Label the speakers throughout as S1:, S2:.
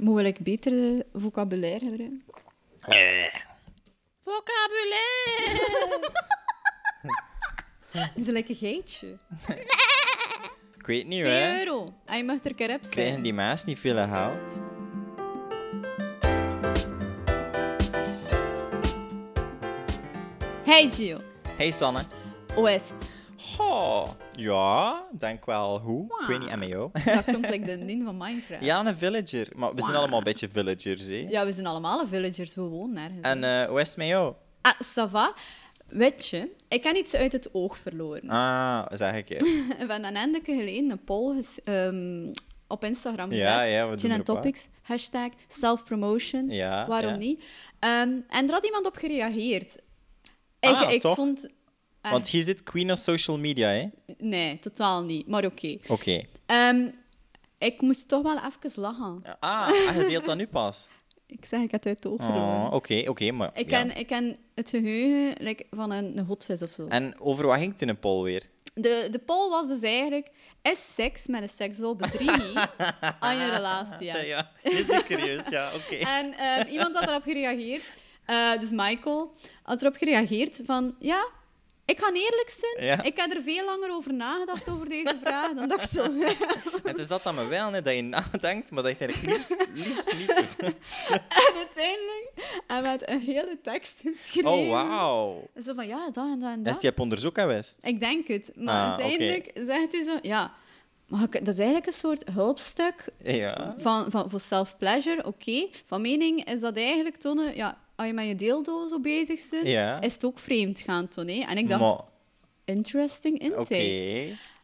S1: Mogelijk beter eh, vocabulaire gebruiken.
S2: Eh.
S1: Vocabulaire! Dat is een lekker geitje.
S2: Ik weet niet,
S1: 2
S2: hè.
S1: euro. En je mag er kerep
S2: Krijgen
S1: zijn.
S2: die maas niet veel geld?
S1: Hey Gio.
S2: Hey, Sanne.
S1: West.
S2: Goh, ja, denk wel hoe. Ik weet niet, en met jou?
S1: Dat komt like de ding van Minecraft.
S2: Ja, een villager. Maar we zijn
S1: Wauw.
S2: allemaal een beetje villagers, hè.
S1: Ja, we zijn allemaal villagers. We wonen nergens.
S2: En eh, hoe is het met jou?
S1: Ah, Sava. Weet je, ik heb iets uit het oog verloren.
S2: Ah, zeg ik keer.
S1: We hebben een eindelijke geleden een poll ges- ehm, op Instagram gezet.
S2: Ja, ja, we doen
S1: Gin
S2: er
S1: and
S2: ook wat.
S1: Topics, hashtag self-promotion.
S2: Ja,
S1: Waarom
S2: ja.
S1: niet? Ehm, en er had iemand op gereageerd. Ik,
S2: Ah,
S1: ik
S2: toch?
S1: vond... eh,
S2: Want je zit queen of social media, hè?
S1: Nee, totaal niet. Maar oké.
S2: Oké.
S1: Ehm, ik moest toch wel even lachen.
S2: Ah, ah, je deelt dat nu pas?
S1: Ik zeg, ik had het uit de oog
S2: Oh,
S1: verloren.
S2: oké, oké, maar...
S1: Ik
S2: ja.
S1: ken, ik ken het geheugen like, van een, een hotvis of zo.
S2: En over wat ging het in een poll weer?
S1: De, de poll was dus eigenlijk: is seks met een seksdoel bedriegend aan je relatie? hebt?
S2: Ja, is ik curieus, ja, oké.
S1: En ehm, iemand had erop gereageerd, eh, dus Michael, had erop gereageerd van: ja, ik ga eerlijk zijn.
S2: Ja.
S1: Ik heb er veel langer over nagedacht over deze vraag dan dat ik zo.
S2: Het is dat dan me wel, hè, dat je nadenkt, maar dat je het eigenlijk liefst, liefst niet doet.
S1: en uiteindelijk hebben we het een hele tekst geschreven.
S2: Oh, wauw.
S1: Zo van: ja, dat en dat en
S2: Is
S1: dat.
S2: die op onderzoek geweest?
S1: Ik denk het, maar
S2: Ah,
S1: uiteindelijk zegt hij zo: ja. Maar ik- dat is eigenlijk een soort hulpstuk
S2: Ja.
S1: Van, van, voor self-pleasure, oké. Van mening is dat eigenlijk tonen... Ja, als je met je deeldoos zo bezig bent,
S2: Ja.
S1: is het ook vreemd gaan tonen. hè. En ik dacht,
S2: Maar, oké.
S1: interesting intake.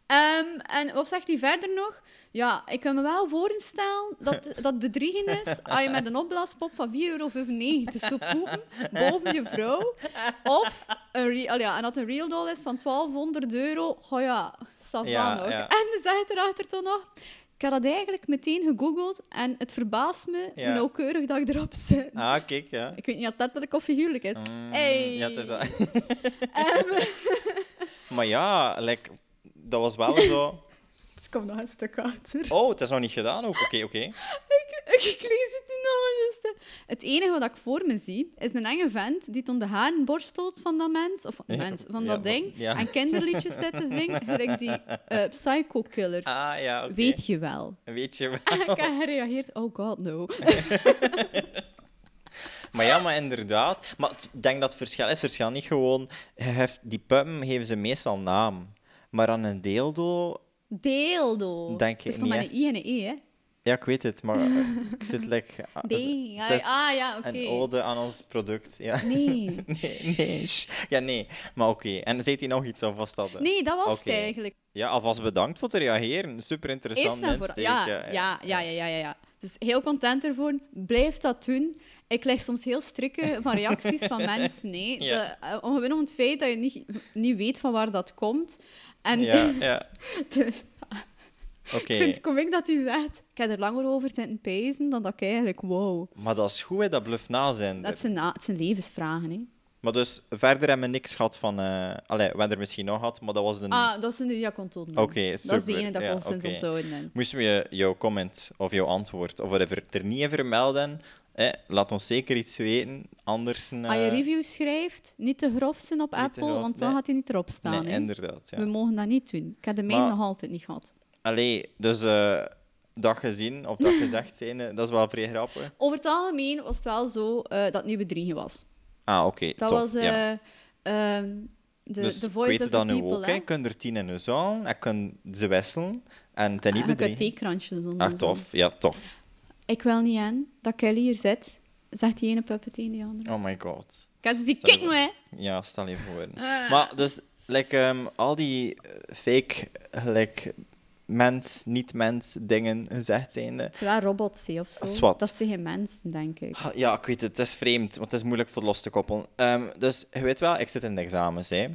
S1: Ehm, en wat zegt hij verder nog? Ja, ik kan me wel voorstellen dat dat bedriegen is als je met een opblaaspop van 4,95 euro zou poepen boven je vrouw. Of een re- allee, ja, en dat een real doll is van 1200 euro. Oh ja, savan
S2: Ja,
S1: ook.
S2: ja.
S1: En dan zegt erachter toch nog... Ik heb dat eigenlijk meteen gegoogeld en het verbaast me hoe
S2: Ja.
S1: nauwkeurig dat ik erop zit.
S2: Ah, kijk, ja.
S1: Ik weet niet of dat letterlijk of figuurlijk is.
S2: Mm,
S1: hey.
S2: Ja, het is dat.
S1: Ehm,
S2: Maar ja, like, dat was wel zo...
S1: het komt nog een stuk achter.
S2: Oh, het is nog niet gedaan ook. Oké, oké.
S1: Ik, ik, ik lees het niet nog maar juist, hè. Het enige wat ik voor me zie, is een enge vent die toen de haren borstelt van dat mens, of van
S2: Ja,
S1: mens, van
S2: ja,
S1: dat
S2: van-
S1: ding,
S2: ja.
S1: en kinderliedjes zit te zingen, gelijk die eh, psycho-killers.
S2: Ah, ja, oké.
S1: Weet Ah, je wel.
S2: Weet je wel.
S1: En ik heb gereageerd, oh god, no.
S2: Maar ja, maar inderdaad. Maar het- ik denk dat het verschil is. Verschil niet gewoon. je hebt- die puppen geven ze meestal naam. Maar aan een deeldo.
S1: Deeldo.
S2: Denk
S1: Het is
S2: ik
S1: nog
S2: niet,
S1: maar een I en een E, hè.
S2: Ja, ik weet het, maar eh, ik zit lekker.
S1: Deel.
S2: Het is
S1: Ah, ja, oké.
S2: Een ode aan ons product. Ja.
S1: Nee.
S2: Nee, nee. sh- Ja, nee. Maar oké. En zei hij nog iets of was dat? eh?
S1: Nee, dat was het
S2: Oké.
S1: eigenlijk.
S2: Ja, alvast bedankt voor te reageren. Super interessant.
S1: Eerst en vooral. Ja, ja, ja, ja, ja, ja, ja. Dus heel content ervoor. Blijf dat doen. Ik leg soms heel strikken van reacties van mensen. Nee.
S2: Ja.
S1: Dat, eh, omwille om het feit dat je niet, niet weet van waar dat komt. En
S2: Ja, ja.
S1: dus,
S2: Oké.
S1: ik vind het komiek dat hij zegt... Ik heb er langer over zitten pezen dan dat ik eigenlijk... Wow.
S2: Maar dat is goed, hè, dat bluft na zijn.
S1: Dat zijn, na- het zijn levensvragen, hè.
S2: Maar dus verder hebben we niks gehad van. eh Allee, we hebben er misschien nog gehad, maar dat was een.
S1: Ah, dat zijn die die ik onthouden heb.
S2: Oké,
S1: Dat is de
S2: super.
S1: ene dat ik
S2: Ja,
S1: constant
S2: oké.
S1: onthouden heb.
S2: Moesten we jouw comment of jouw antwoord of whatever er niet even melden? Eh, laat ons zeker iets weten, anders... eh,
S1: Als Ah, je reviews schrijft, niet te grof zijn op
S2: niet te
S1: Apple,
S2: grof,
S1: want dan
S2: nee.
S1: gaat hij niet erop staan.
S2: Nee,
S1: hè.
S2: inderdaad, ja.
S1: We mogen dat niet doen. Ik heb de mijne
S2: Maar-
S1: nog altijd niet gehad.
S2: Allee, dus eh, dat gezien of dat gezegd zijn, dat is wel vrij grappig.
S1: Over het algemeen was het wel zo eh, dat het niet bedriegen was.
S2: Ah, oké,
S1: Dat
S2: top,
S1: was eh,
S2: ja.
S1: ehm, de,
S2: dus
S1: de
S2: ik weet
S1: voice of
S2: het
S1: the
S2: dan nu
S1: people.
S2: ook, hè.
S1: hè.
S2: Je kunt er tien in de zaal, je kunt ze wisselen en ten
S1: Ah,
S2: niet
S1: Ik heb
S2: bedriegen.
S1: theekransjes onder
S2: Ah,
S1: de zon.
S2: tof. Ja, tof.
S1: Ik wil niet aan dat Kelly hier zit, zegt die ene puppet tegen die andere.
S2: Oh my god.
S1: Kijk, ze die
S2: Stel je
S1: kijk me, hè.
S2: Ja, stel je voor.
S1: Ah.
S2: Maar dus, like, ehm, al die eh, fake, like, mens, niet-mens dingen gezegd zijnde.
S1: Het zijn wel robots, hè, of zo.
S2: Ah, zwart.
S1: Dat zijn geen mensen, denk ik.
S2: Ah, Ja, ik weet het, het is vreemd, want het is moeilijk voor los te koppelen. Ehm, dus je weet wel, ik zit in de examens. Hè.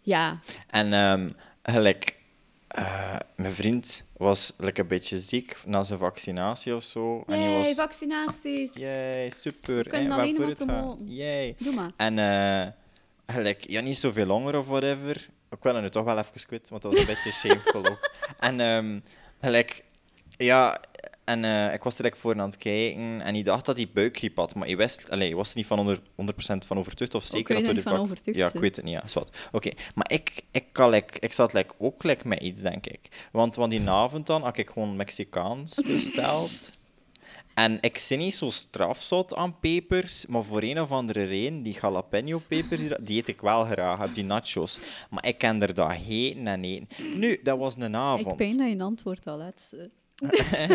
S1: Ja.
S2: En ehm, gelijk, eh, mijn vriend was like, een beetje ziek na zijn vaccinatie of zo. en hij
S1: Yay,
S2: was.
S1: vaccinaties.
S2: Yay, super.
S1: We kunnen
S2: hè,
S1: alleen
S2: waarvoor
S1: maar
S2: het gaat.
S1: promoten.
S2: Yay.
S1: Doe maar.
S2: En eh, gelijk, ja, niet zoveel langer of whatever. Ik wil het nu toch wel even kwijt, want dat was een beetje shameful ook. En ehm, gelijk, ja, En eh, ik was direct voor aan het kijken en hij dacht dat hij buikgriep had, maar hij wist, allee, hij was er niet van onder, 100% van overtuigd of zeker
S1: kun je
S2: dat
S1: Oh, er niet
S2: door de
S1: van
S2: vac-
S1: overtuigd
S2: Ja, ik
S1: zijn?
S2: weet het niet, ja, is wat. Oké, maar ik, ik, kan, like, ik zat like, ook like, met iets, denk ik. Want, want die avond dan had ik gewoon Mexicaans besteld. En ik zit niet zo strafzot aan pepers, maar voor een of andere reden, die jalapeno pepers, die- die eet ik wel graag, heb die nachos. Maar ik ken er dat heten en eten. Nu, dat was een avond.
S1: Ik pijn dat je een antwoord al hebt. Eh,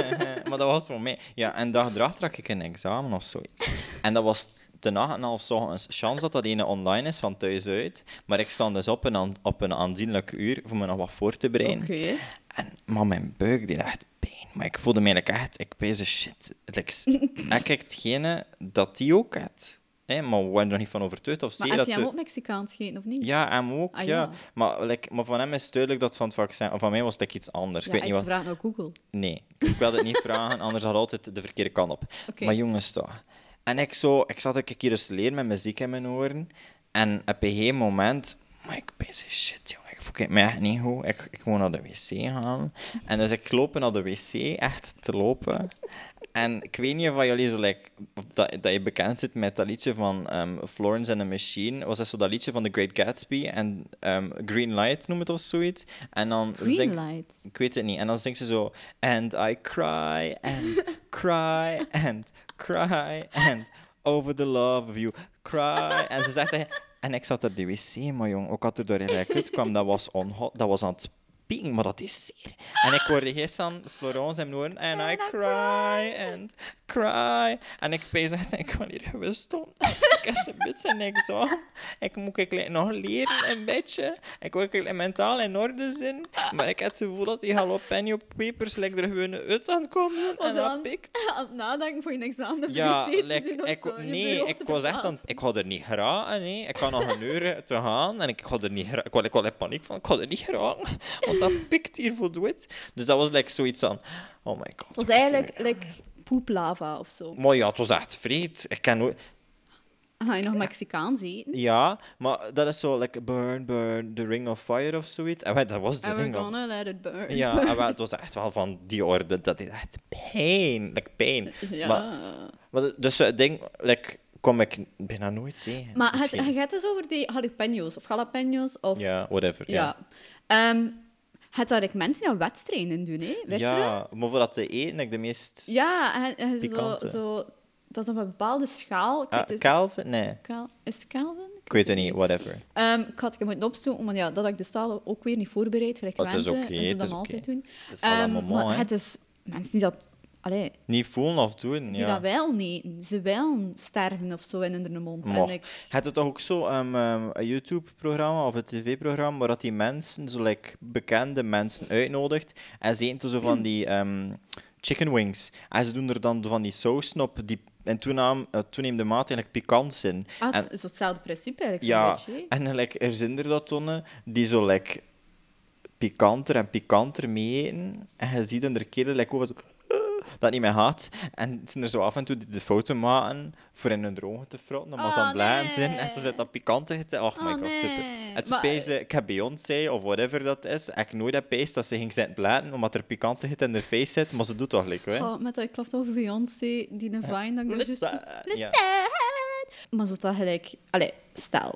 S2: maar dat was voor mij. Ja, en dag erachter had ik een examen of zoiets. En dat was ten nacht en half ochtends. Chance dat dat ene online is van thuis uit. Maar ik stond dus op een, aan- op een aanzienlijk uur voor me nog wat voor te
S1: Oké.
S2: bereiden. En, maar mijn buik deed echt pijn. Maar ik voelde me eigenlijk echt, ik bezig shit. Like, ik heb hetgene dat die ook had. Hè, maar we waren er nog niet van overtuigd. Of
S1: Maar
S2: zie
S1: had hij
S2: dat we-
S1: hem ook Mexicaans gegeten, of niet?
S2: Ja, hem ook.
S1: Ah,
S2: ja.
S1: ja.
S2: Maar, like, maar van hem is duidelijk dat van het vaccin. Of van mij was het like, iets anders. ik weet niet wat.
S1: vraagt naar Google.
S2: Nee, ik wilde het niet vragen, anders had altijd de verkeerde kant op.
S1: Oké.
S2: Maar jongens, toch. En ik, zo, ik zat een keer eens te leren met muziek in mijn oren. En op een gegeven moment... Maar ik ben zo shit, jongen. Ik voel me echt niet goed. Ik, ik moet naar de wc gaan. En dus ik loop naar de wc, echt te lopen. En ik weet niet of jullie zo... Like, of dat, dat je bekend zit met dat liedje van ehm, Florence and the Machine. Was dat zo dat liedje van The Great Gatsby? En ehm, Green Light noem het of zoiets. En dan zingt-
S1: Greenlight.
S2: ik weet het niet. En dan zingt ze zo... And I cry and cry and cry and over the love of you cry. En ze zegt... tegen- En ik zat op de wc, maar jong, ook had er door eigenlijk uitkwam, dat was onhot, dat was aan het pieken, maar dat is zeer. En ik hoorde eerst aan Florence en horen, and I cry and cry. En ik pees echt, ik kan hier gewoon stom. Ik heb ze beetje niks aan. Ik moet ik le- nog leren een beetje. Ik wil ik le- mentaal in orde zijn. Maar ik heb het gevoel dat die jalapeno pepers like, er gewoon uit aan het komen.
S1: Was
S2: En
S1: je
S2: dat
S1: aan het-
S2: pikt.
S1: aan het nadenken voor je examen op
S2: Ja,
S1: de wc te
S2: like,
S1: doen of
S2: ik,
S1: zo, je
S2: nee,
S1: bureau
S2: ik
S1: te
S2: was echt aan
S1: verplaatsen.
S2: Ik had er niet geraken, nee. Ik had nog een uur te gaan en ik had er niet gera- Ik was, ik was in paniek van, ik had er niet geraken. Want dat pikt hier voldoet. Dus dat was like, zoiets van, oh my god.
S1: Het was eigenlijk like, poeplava of zo.
S2: Maar ja, het was echt vreed. Ik ken nooit...
S1: Ga je nog Mexicaans eten?
S2: Ja, maar dat is zo, like, burn, burn, the ring of fire of zoiets. En wel, dat was de
S1: And we're
S2: ring of
S1: gonna let it burn.
S2: Ja, en wel, het was echt wel van die orde. Dat is echt pijn. Like, pijn.
S1: Ja.
S2: Maar, maar dus het ding, like, kom ik bijna nooit tegen.
S1: Maar het,
S2: Misschien.
S1: je hebt dus over die jalapenos of jalapenos of...
S2: Ja, whatever. Ja.
S1: ja. Ehm, het zou ik mensen aan wedstrijden doen, hè? Weet je dat?
S2: Ja, maar voor dat te eten, ik de meest...
S1: Ja, en, en zo,
S2: Pikante.
S1: zo... Dat is op een bepaalde schaal. Ik weet
S2: Ah,
S1: dus-
S2: Calvin? Nee,
S1: Cal- is het Calvin?
S2: ik weet het niet, whatever.
S1: Ehm, ik had het even moeten opzoeken, maar ja, dat had ik de staal ook weer niet voorbereid. Gelijk
S2: Oh, het is
S1: wensen,
S2: oké,
S1: en ze
S2: het
S1: dat
S2: is oké.
S1: altijd doen.
S2: Het is à la
S1: Ehm,
S2: moment,
S1: maar
S2: hè.
S1: het is mensen die dat, allee,
S2: Niet voelen of doen,
S1: die
S2: ja.
S1: dat wel niet, ze wel sterven of zo in hun mond.
S2: Mocht.
S1: En ik,
S2: Had het toch ook zo ehm, ehm, een YouTube-programma of een tv-programma waar dat die mensen, zo like, bekende mensen, uitnodigt en ze eten zo van die ehm, chicken wings. En ze doen er dan van die saus op die in toenaam, eh, toenemende mate eigenlijk pikant in.
S1: ah,
S2: en,
S1: het is hetzelfde principe eigenlijk, zo'n
S2: ja,
S1: beetje. hè.
S2: en eh, like, er zijn er dat tonnen die zo like, pikanter en pikanter mee eten. En je ziet dan er keren like, over zo, dat niet meer gaat. En het zijn er zo af en toe die de foto maken voor in hun ogen te frotten, omdat
S1: Oh,
S2: ze aan het blij zijn. En
S1: nee.
S2: toen zit dat pikante te... Oh, my
S1: Oh,
S2: god,
S1: nee.
S2: super. En toen
S1: Maar-
S2: pezen, ik heb Beyoncé, of whatever dat is, ik nooit heb pees dat ze ging zijn blaten, omdat er pikante in de face zit, maar ze doet toch lekker, hè?
S1: Oh, met dat klopt over Beyoncé, die een vine, dat ik dus
S2: Listen,
S1: juist-
S2: ja.
S1: Listen! Maar zo dat gelijk... Allee, stel,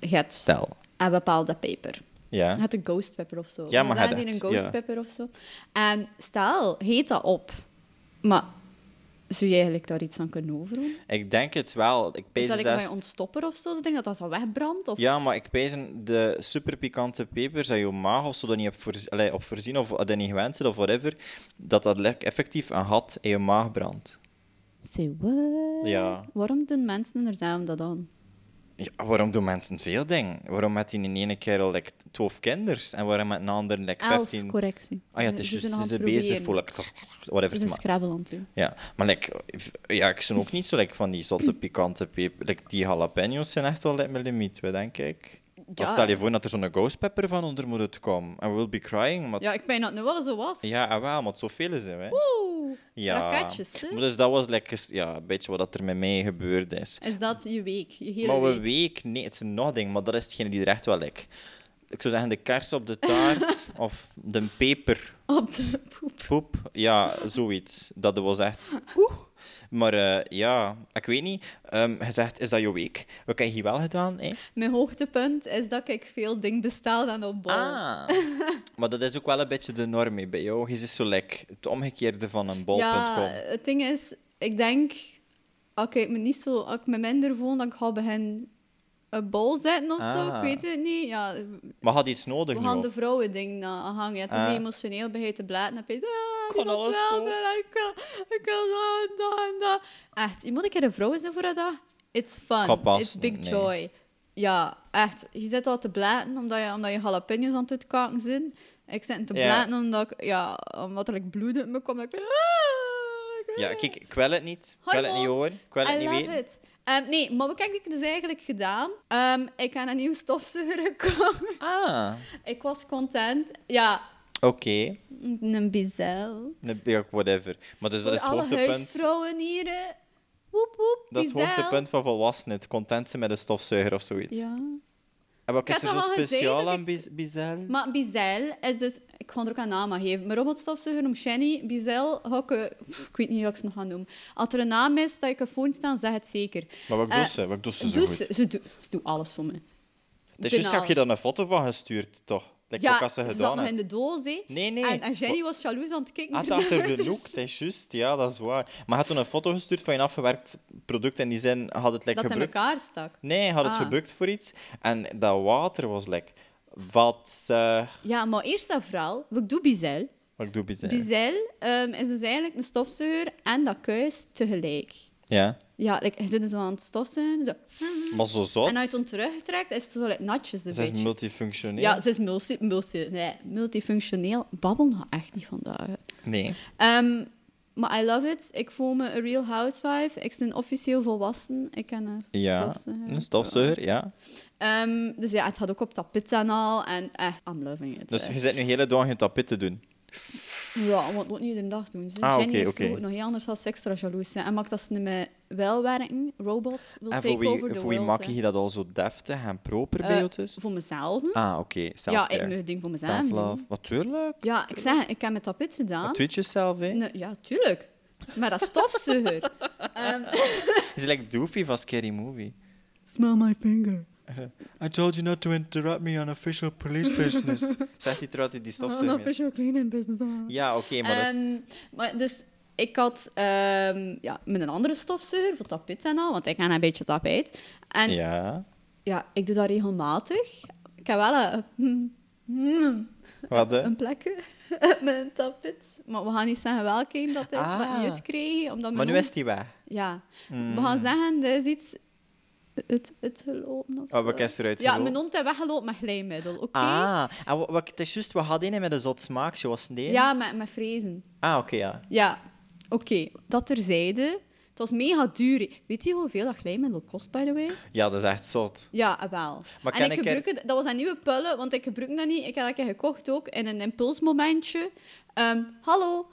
S1: je hebt
S2: Stel.
S1: een bepaalde paper.
S2: Ja.
S1: Het een ghost pepper of zo.
S2: Ja, maar
S1: We zagen
S2: het-
S1: die een ghost
S2: ja.
S1: pepper of zo. En stel, heet dat op. Maar zou je eigenlijk daar iets aan kunnen overdoen?
S2: Ik denk het wel. Ik
S1: Is
S2: pees
S1: dat ik
S2: zelfs-
S1: bij ontstopper of zo? Ze denken dat dat zo wegbrandt? Of...
S2: Ja, maar ik pijzen de superpikante pepers dat je maag of zo dat niet hebt voorzien, allee, op voorzien of dat je niet gewend zit of whatever, dat dat lek- effectief een gat in je maag brandt.
S1: Say what?
S2: Ja.
S1: Waarom doen mensen er zelf dat aan?
S2: Ja, waarom doen mensen veel dingen? Waarom met die in ene keer al like, 12 kinders en waarom met een ander like,
S1: Elf,
S2: 15?
S1: correctie.
S2: Ah
S1: Ze-
S2: ja, het is
S1: ze
S2: juist,
S1: zijn
S2: ze
S1: nog aan
S2: zijn
S1: het
S2: bezig
S1: proberen.
S2: voor like, whatever.
S1: Ze zijn
S2: maar-
S1: scrabble aan het doen.
S2: Ja, maar like, v- ja, ik ben ook niet zo like, van die zotte pikante peper. Like, die jalapenos zijn echt wel like, mijn limiet, wat denk ik. Maar
S1: Ja.
S2: stel je voor dat er zo'n ghost pepper van onder moet komen. I will be crying, maar
S1: Ja, ik ben dat nu wel zo was.
S2: Ja, ah, wel, maar het zoveel zijn wij.
S1: Oeh,
S2: Ja.
S1: raketjes. hè.
S2: Maar dus dat was lekker, ja, een beetje wat dat er met mij gebeurd is.
S1: Is dat je week? Je hele
S2: maar we
S1: week?
S2: week, nee, het is een nothing, maar dat is hetgene die er echt wel lijkt. Ik zou zeggen de kers op de taart of de peper
S1: op de poep.
S2: Poep, ja, zoiets. Dat was echt... Oeh. Maar eh, ja, ik weet niet. Ehm je zegt, is dat je week? Wat heb je wel gedaan? hè?
S1: Mijn hoogtepunt is dat ik veel ding bestel dan op bol.
S2: Ah. maar dat is ook wel een beetje de norm hè, bij jou. Je zit zo lek. Het omgekeerde van een bol.com.
S1: ja, het ding is, ik denk, als ik me niet zo, als ik me minder voel, dan ik ga beginnen een bol zetten of zo.
S2: Ah.
S1: Ik weet het niet. Ja,
S2: Maar had iets nodig
S1: we
S2: nu?
S1: gaan
S2: of-
S1: de vrouwen ding aan hangen. Ja, het is
S2: Ah.
S1: niet emotioneel bij je te blaten. Dan heb je ah, ik
S2: Ik kan
S1: wil
S2: alles
S1: wel,
S2: kopen.
S1: ik wil, ik wil dat en dat en dat. Echt, je moet een keer een vrouw zijn voor dat. dag. It's fun.
S2: Kan pas,
S1: It's big
S2: nee.
S1: joy. Ja, echt. Je zit al te blaten omdat je, omdat je jalapenos aan het uitkaken zijn. Ik zit te
S2: Ja.
S1: blaten omdat, ik, ja, omdat er like, bloed uit me komt. Ik ben, ah, ik wil
S2: Ja,
S1: dat.
S2: kijk, ik wil het niet. Ik wil het
S1: Hoi,
S2: niet
S1: Mo.
S2: horen. Ik wil het
S1: I
S2: niet
S1: love
S2: weten.
S1: it. Ehm, nee, maar wat heb ik dus eigenlijk gedaan? Ehm, ik heb een nieuwe stofzuiger gekocht.
S2: Ah,
S1: ik was content. Ja,
S2: oké.
S1: een bizel.
S2: Nee, ja, Whatever. Maar dus dat is
S1: Voor
S2: het
S1: alle
S2: hoogtepunt.
S1: huisvrouwen hier. eh, Woep, woep,
S2: Dat is het
S1: bizel.
S2: hoogtepunt van volwassenen. Het content zijn met een stofzuiger of zoiets.
S1: Ja.
S2: En wat
S1: Ik
S2: is er
S1: had
S2: zo
S1: toch al gezegd
S2: speciaal
S1: dat
S2: aan Biz- Bizel?
S1: Maar bizel is dus... Ik ga er ook een naam aan geven. Mijn robotstofzuiger om Shani. Bizel, ga ik, eh, pff, ik weet niet hoe ik ze nog ga noemen. Als er een naam is dat ik een phone staan, zeg het zeker.
S2: Maar wat
S1: Eh,
S2: doet ze? Wat doet ze zo
S1: Dus
S2: goed?
S1: ze, ze, doet- ze doet alles voor me.
S2: Het is juist,
S1: Doe
S2: heb je dan een foto van gestuurd, toch? Like ook als ze
S1: ze zat
S2: gedaan
S1: nog in
S2: heeft. Ah,
S1: de doos, hè.
S2: Nee, nee.
S1: En, en Jenny was jaloers aan het kijken.
S2: Had
S1: ernaar.
S2: achter de look, het is juist, ja, dat is waar. Maar had toen een foto gestuurd van je afgewerkt product en die zin had het
S1: dat
S2: lekker
S1: het in
S2: gebruikt.
S1: elkaar stak.
S2: Nee, had het
S1: Ah.
S2: gebruikt voor iets en dat water was lek. Wat, eh,
S1: Ja, maar eerst dat verhaal. Ik doe bizel.
S2: wat doe Bizel?
S1: Bizel ehm, is dus eigenlijk een stofzuiger en dat kuis tegelijk.
S2: Ja,
S1: Ja, like, je zit dus aan het stofzuigen. Zo.
S2: maar zo zot.
S1: En als je het dan terugtrekt, is het zo like, natjes een
S2: Ze is
S1: beetje.
S2: multifunctioneel.
S1: ja, ze is multi, multi, nee, multifunctioneel. Babbel nou echt niet vandaag.
S2: Nee.
S1: Ehm, maar I love it. Ik voel me een real housewife. Ik ben officieel volwassen. Ik ken een
S2: Ja,
S1: stofzuiger.
S2: een stofzuiger, ja.
S1: Ehm, dus ja, het had ook op tapijt en al. En echt, I'm loving it.
S2: Dus
S1: Eh,
S2: je zit nu hele dag je tapijt te doen.
S1: Ja, want het moet niet iedere dag doen. Ze
S2: Ah,
S1: Jenny
S2: oké,
S1: is
S2: oké.
S1: ook nog heel anders dan ze extra jaloers zijn. En maakt dat ze niet meer wel werken. Robots will
S2: En
S1: take
S2: voor wie,
S1: over the
S2: voor wie
S1: world,
S2: maak
S1: hè.
S2: je dat al zo deftig en proper bij
S1: Eh,
S2: jou dus?
S1: Voor mezelf.
S2: Ah, oké.
S1: Ja,
S2: Self-care.
S1: ik moet het ding voor mezelf
S2: Self-love.
S1: doen.
S2: Natuurlijk.
S1: Ja, ik zeg, ik heb mijn tapijt gedaan.
S2: Wat doet jezelf, hè?
S1: Ah. Nee, ja, tuurlijk. Maar dat stofzuiger. Ehm,
S2: Het is like Doofy van Scary Movie.
S1: Smell my finger.
S2: I told you not to interrupt me on official police business. Zegt hij terwijl hij die stofzuiger... heeft.
S1: cleaning business.
S2: Ja, oké, maar dat is...
S1: Ehm, maar dus ik had ehm, ja, met een andere stofzuiger voor tapijt en al, want ik heb een beetje tapijt. En ja.
S2: Ja,
S1: ik doe dat regelmatig. Ik heb wel een, mm, mm,
S2: wat hè?
S1: een plekje met een tapijt. Maar we gaan niet zeggen welke dat ik dat
S2: Ah.
S1: niet uitkreeg. Omdat mijn
S2: Maar nu
S1: hond-
S2: is Hmm. hij weg.
S1: Ja. We gaan zeggen, er is iets het, het gelopen of
S2: Oh,
S1: zo.
S2: wat is eruit
S1: Ja,
S2: gelopen?
S1: mijn hond heeft weggelopen met glijmiddel, oké?
S2: Ah, en wa- wat, het is juist, we hadden een met een zot smaak, zoals nee.
S1: Ja, met, met vrezen.
S2: Ah, oké, ja.
S1: Ja, oké. Dat terzijde. Het was mega duur. hè. Weet je hoeveel dat glijmiddel kost, by the way?
S2: Ja, dat is echt zot.
S1: Ja, eh, wel.
S2: Maar
S1: en
S2: kan
S1: ik
S2: ik er-
S1: gebruik het, dat was een nieuwe pullen, want ik gebruik dat niet. Ik heb dat een keer gekocht ook in een impulsmomentje. Ehm, hallo,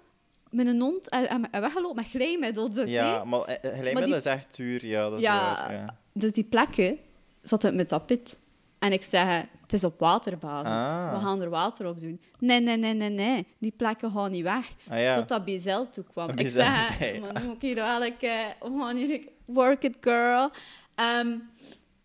S1: mijn hond eh, en, en, en weggelopen met glijmiddel. Dus, hè.
S2: Ja, maar eh, eh, glijmiddel
S1: die-
S2: is echt duur, ja, dat is
S1: Ja,
S2: waar. Ja.
S1: dus die plekken zat het met tapijt. En ik zei, het is op waterbasis.
S2: Ah.
S1: We gaan er water op doen. Nee, nee, nee, nee, nee. Die plekken gaan niet weg.
S2: Ah, ja.
S1: Tot dat Bizel toe kwam. Ik
S2: Bizel
S1: zei,
S2: zei,
S1: maar nu moet ik hier wel een keer- we gaan hier een- work it, girl. Ehm,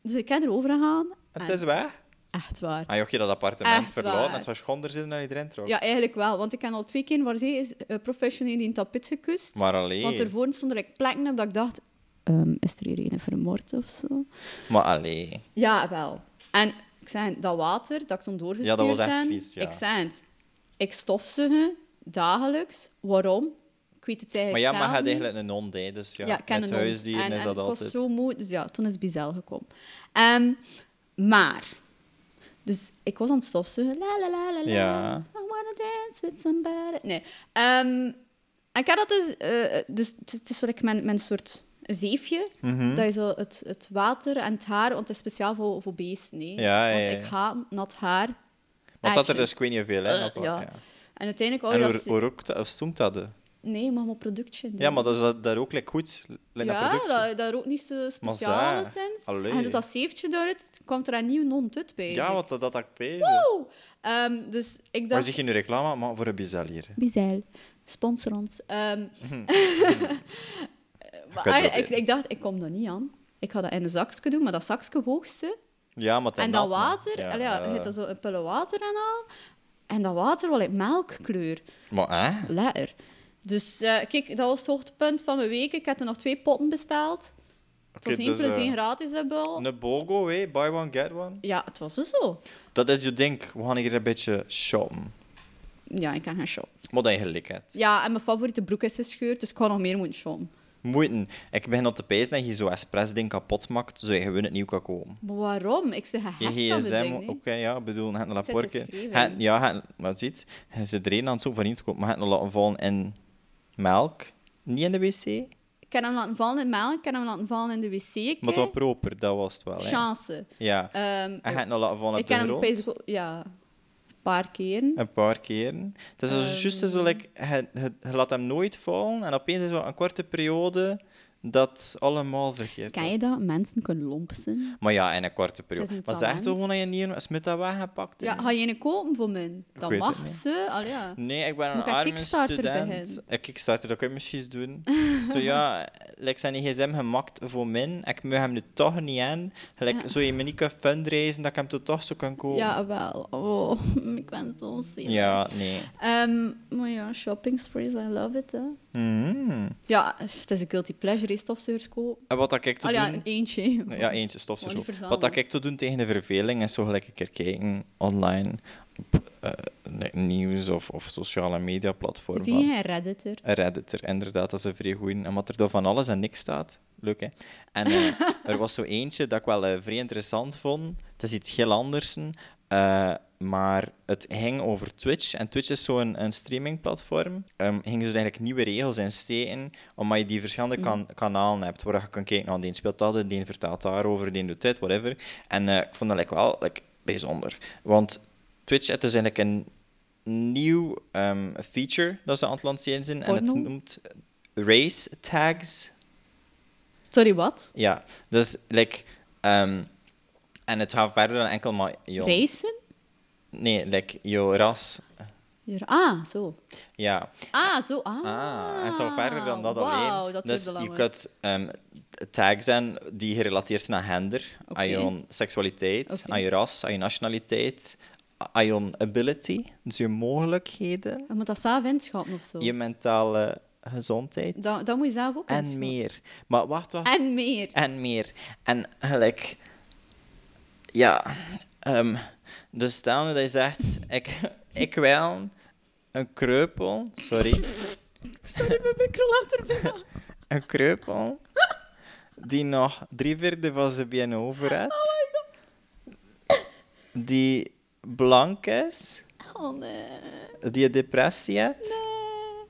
S1: dus ik heb erover gegaan.
S2: Het
S1: En
S2: is weg.
S1: Echt waar.
S2: Ah, joh, je dat appartement
S1: Echt
S2: verlaten,
S1: waar.
S2: het was gewoon er zitten en je erin trok.
S1: Ja, eigenlijk wel. Want ik heb al twee keer waar ze is eh, professioneel die een tapijt gekust.
S2: Maar alleen.
S1: Want ervoor stond er plekken op dat ik dacht... ehm, is er hier een vermoord of zo?
S2: Maar alleen.
S1: Ja, wel. En ik zei, dat water dat ik toen doorgestuurd
S2: Ja, dat was echt
S1: heb,
S2: vies, ja.
S1: ik zei het, ik stofzuigen dagelijks. Waarom? Ik weet het
S2: Maar
S1: eigenlijk
S2: ja, maar
S1: zelf
S2: hij had
S1: niet.
S2: eigenlijk een hond, hè, dus ja.
S1: Ja, ik ken
S2: met
S1: een hond.
S2: huisdieren
S1: en,
S2: is
S1: en
S2: dat
S1: ik was
S2: altijd.
S1: zo moe, dus ja, toen is Bizel gekomen. Ehm, maar, dus ik was aan het stofzuigen. La, la, la, la, la.
S2: Ja.
S1: I wanna dance with somebody. Nee. Ehm, en ik had dat dus... eh, dus het is- het is wat ik mijn, mijn soort zeefje,
S2: Mhm.
S1: dat je zo het, het water en het haar... Want het is speciaal voor, voor beesten, nee.
S2: Ja, ja, ja.
S1: Want ik haat nat haar.
S2: Want dat er
S1: Action.
S2: dus, ik weet niet veel, hè.
S1: Eh,
S2: nog wel,
S1: ja.
S2: ja.
S1: En uiteindelijk... wou
S2: En
S1: je
S2: hoe,
S1: dat ze-
S2: hoe rookt dat, of stoomt dat? eh?
S1: Nee, maar maar productje. doen.
S2: Ja, maar dat is dat- daar ook like, goed. Like
S1: ja,
S2: dat productje.
S1: dat, daar ook niet zo
S2: Maar
S1: speciaal
S2: zij,
S1: sinds.
S2: allee.
S1: En hij doet dat zeefje daaruit, kwam er een nieuw non-tut bij.
S2: ja,
S1: zeg.
S2: wat dat, dat had ik bezig.
S1: Oeh! Ehm, dus ik
S2: Maar
S1: dacht...
S2: zeg je nu reclame, maar voor een bizarre.
S1: Bizeil, sponsor ons. Ehm, maar
S2: ga Hmm. het
S1: ik,
S2: proberen.
S1: ik dacht, ik kom dat niet aan. Ik ga dat in een zakje doen, maar dat zakje hoogste.
S2: Ja, maar
S1: En
S2: nat,
S1: dat
S2: maar-
S1: water, ja, ja, je hebt er zo een pulle water en al. En dat water wel in melkkleur.
S2: Maar hè?
S1: Lekker. Dus eh, kijk, dat was het hoogtepunt van mijn week. Ik heb er nog twee potten besteld. Het was
S2: Oké,
S1: één
S2: dus,
S1: plus
S2: eh,
S1: één gratis, dat wel.
S2: Een bogo, hé. buy one, get one.
S1: Ja, het was dus zo.
S2: Dat is je ding. We gaan hier een beetje shoppen.
S1: Ja, ik kan gaan shoppen.
S2: Wat dat je gelijk hebt.
S1: Ja, en mijn favoriete broek is gescheurd, dus ik ga nog meer moeten shoppen.
S2: Moeiten. Ik begin al te pijzen dat je zo'n espresso-ding kapot maakt, zodat je gewoon het nieuw kan komen.
S1: Maar waarom? Ik zeg
S2: Je
S1: gehecht aan de
S2: gsm,
S1: ding,
S2: oké,
S1: nee.
S2: ja, ik bedoel, het een
S1: Het zit
S2: laporke.
S1: geschreven.
S2: Het- Ja, het- maar ziet, je zit er één aan het zo van in te komen, maar het nog laten vallen in melk, niet in de wc.
S1: Ik kan hem laten vallen in melk, ik kan hem laten vallen in de wc. ik,
S2: Maar het
S1: hè.
S2: was proper, dat was het wel. Hè.
S1: Chance.
S2: Ja,
S1: Ehm,
S2: en je hebt nog laten vallen op
S1: ik
S2: de
S1: kan hem
S2: grond.
S1: opeens wel- Ja, een paar keren.
S2: Een paar keren. Het is
S1: Ehm.
S2: als juist zo, like, je, je- je laat hem nooit vallen en opeens is er een korte periode dat allemaal vergeet.
S1: Kan je dat? Mensen kunnen lompen.
S2: Maar ja, in een korte periode.
S1: Het is een
S2: maar zeg
S1: talent.
S2: toch gewoon dat je niet een smid dat weggepakt
S1: Ja,
S2: hebt?
S1: ga je een kopen voor mij?
S2: Ik
S1: Dat
S2: weet het
S1: mag
S2: niet.
S1: ze. Allee, ja.
S2: Nee, ik ben
S1: Moet
S2: een
S1: ik aan
S2: arme
S1: Kickstarter
S2: student.
S1: beginnen?
S2: Een Kickstarter, dat kan je misschien eens doen. Zo ja, like zijn gsm gemakt voor min. Ik moet hem nu toch niet aan. Like,
S1: Ja.
S2: Zo je me niet kan fundraisen, dat ik hem toch toch zo kan kopen.
S1: ja, wel. Oh, ik ben zo zielig.
S2: Ja, nee.
S1: Ehm, maar ja, shopping sprees, I love it. Hè.
S2: Mm.
S1: Ja, het is een guilty pleasure, hè, stofzuigers kopen.
S2: En wat dat ik te
S1: Allee, Oh ja,
S2: doen...
S1: eentje.
S2: Nou Ja, eentje, stofzuiger.
S1: Maar niet
S2: Wat
S1: verzamelen.
S2: dat ik te doen tegen de verveling is zo gelijk een keer kijken online op eh, like, nieuws of, of sociale media platformen.
S1: Zie je een redditor?
S2: Een Redditor, inderdaad, dat is een vrij goeie. En wat er daar van alles en niks staat. Leuk, hè? En eh, er was zo eentje dat ik wel eh, vrij interessant vond. Het is iets heel anders. eh, maar het ging over Twitch. En Twitch is zo'n een streamingplatform. Ehm gingen ze dus eigenlijk nieuwe regels insteken, omdat je die verschillende kan kanalen hebt, waar je kan kijken, nou, die speelt dat, die vertaalt daarover, die doet dit, whatever. En eh, ik vond dat like, wel like, bijzonder. Want Twitch, het is eigenlijk een nieuw ehm, feature dat ze aan het lanceren zijn. En het
S1: Porno?
S2: noemt race tags.
S1: Sorry, wat?
S2: Ja, dus like, ehm, en het gaat verder dan enkel maar je
S1: Racen?
S2: Nee, like je ras.
S1: Ja, Ah, zo.
S2: Ja.
S1: Ah, zo. Ah,
S2: Ah, het gaat verder dan dat alleen.
S1: Wauw, dat
S2: dus
S1: is
S2: je
S1: belangrijk.
S2: kunt ehm, tags zijn die gerelateerd zijn aan gender, aan je
S1: Oké.
S2: seksualiteit,
S1: Oké.
S2: aan je ras, aan je nationaliteit, aan je ability, dus je mogelijkheden,
S1: Je moet dat zelf inschatten of zo.
S2: je mentale gezondheid.
S1: Dat, dat moet je zelf ook
S2: En
S1: inschatten.
S2: meer. Maar wacht, wacht.
S1: En meer.
S2: En meer. En gelijk... Ja. ehm, dus stel nu dat je zegt... Ik, ik wil een kreupel... Sorry.
S1: Sorry, mijn mikro later binnen.
S2: Een kreupel... Die nog drie vierde van zijn benen over heeft.
S1: Oh
S2: Die blank is.
S1: Oh nee.
S2: Die een depressie heeft.
S1: Nee.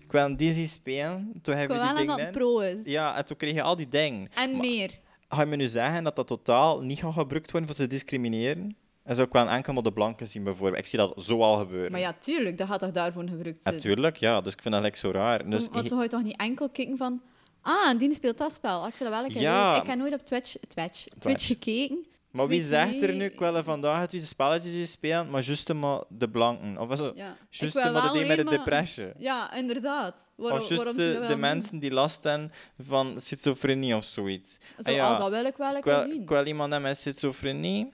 S2: Ik wil die zien spelen. Toen
S1: Ik
S2: hebben
S1: wil
S2: we
S1: wel
S2: die
S1: dat het
S2: dingen.
S1: pro is.
S2: Ja, en toen kreeg je al die dingen.
S1: En
S2: Maar-
S1: meer.
S2: Ga je me nu zeggen dat dat totaal niet gaat gebruikt worden voor te discrimineren? En zou ik wel enkel maar de blanken zien, bijvoorbeeld. Ik zie dat zo al gebeuren.
S1: Maar ja, tuurlijk, dat gaat toch daarvoor gebruikt zijn?
S2: Natuurlijk, ja. Dus ik vind dat like, zo raar. Dus,
S1: Want dan ga je toch niet enkel kijken van... Ah, en die speelt dat spel. Ah, ik vind dat wel een keer
S2: Ja.
S1: leuk. Ik heb nooit op Twitch, Twitch, Twitch gekeken.
S2: maar wie
S1: Weet
S2: zegt
S1: je-
S2: er nu, ik wil vandaag het wie spelletjes die spelen, maar juist maar de blanken? Of zo,
S1: Ja. Ik
S2: juist
S1: wil
S2: maar de
S1: wel
S2: ding met de
S1: alleen maar-
S2: depressie.
S1: Ja, inderdaad. Waarom,
S2: Of juist
S1: waarom
S2: de,
S1: zou je
S2: de
S1: dat doen?
S2: mensen die last hebben van schizofrenie of zoiets.
S1: Zo,
S2: En ja,
S1: ah, dat wil ik wel
S2: ik
S1: lekker
S2: wil,
S1: zien.
S2: ik wil iemand hebben met schizofrenie.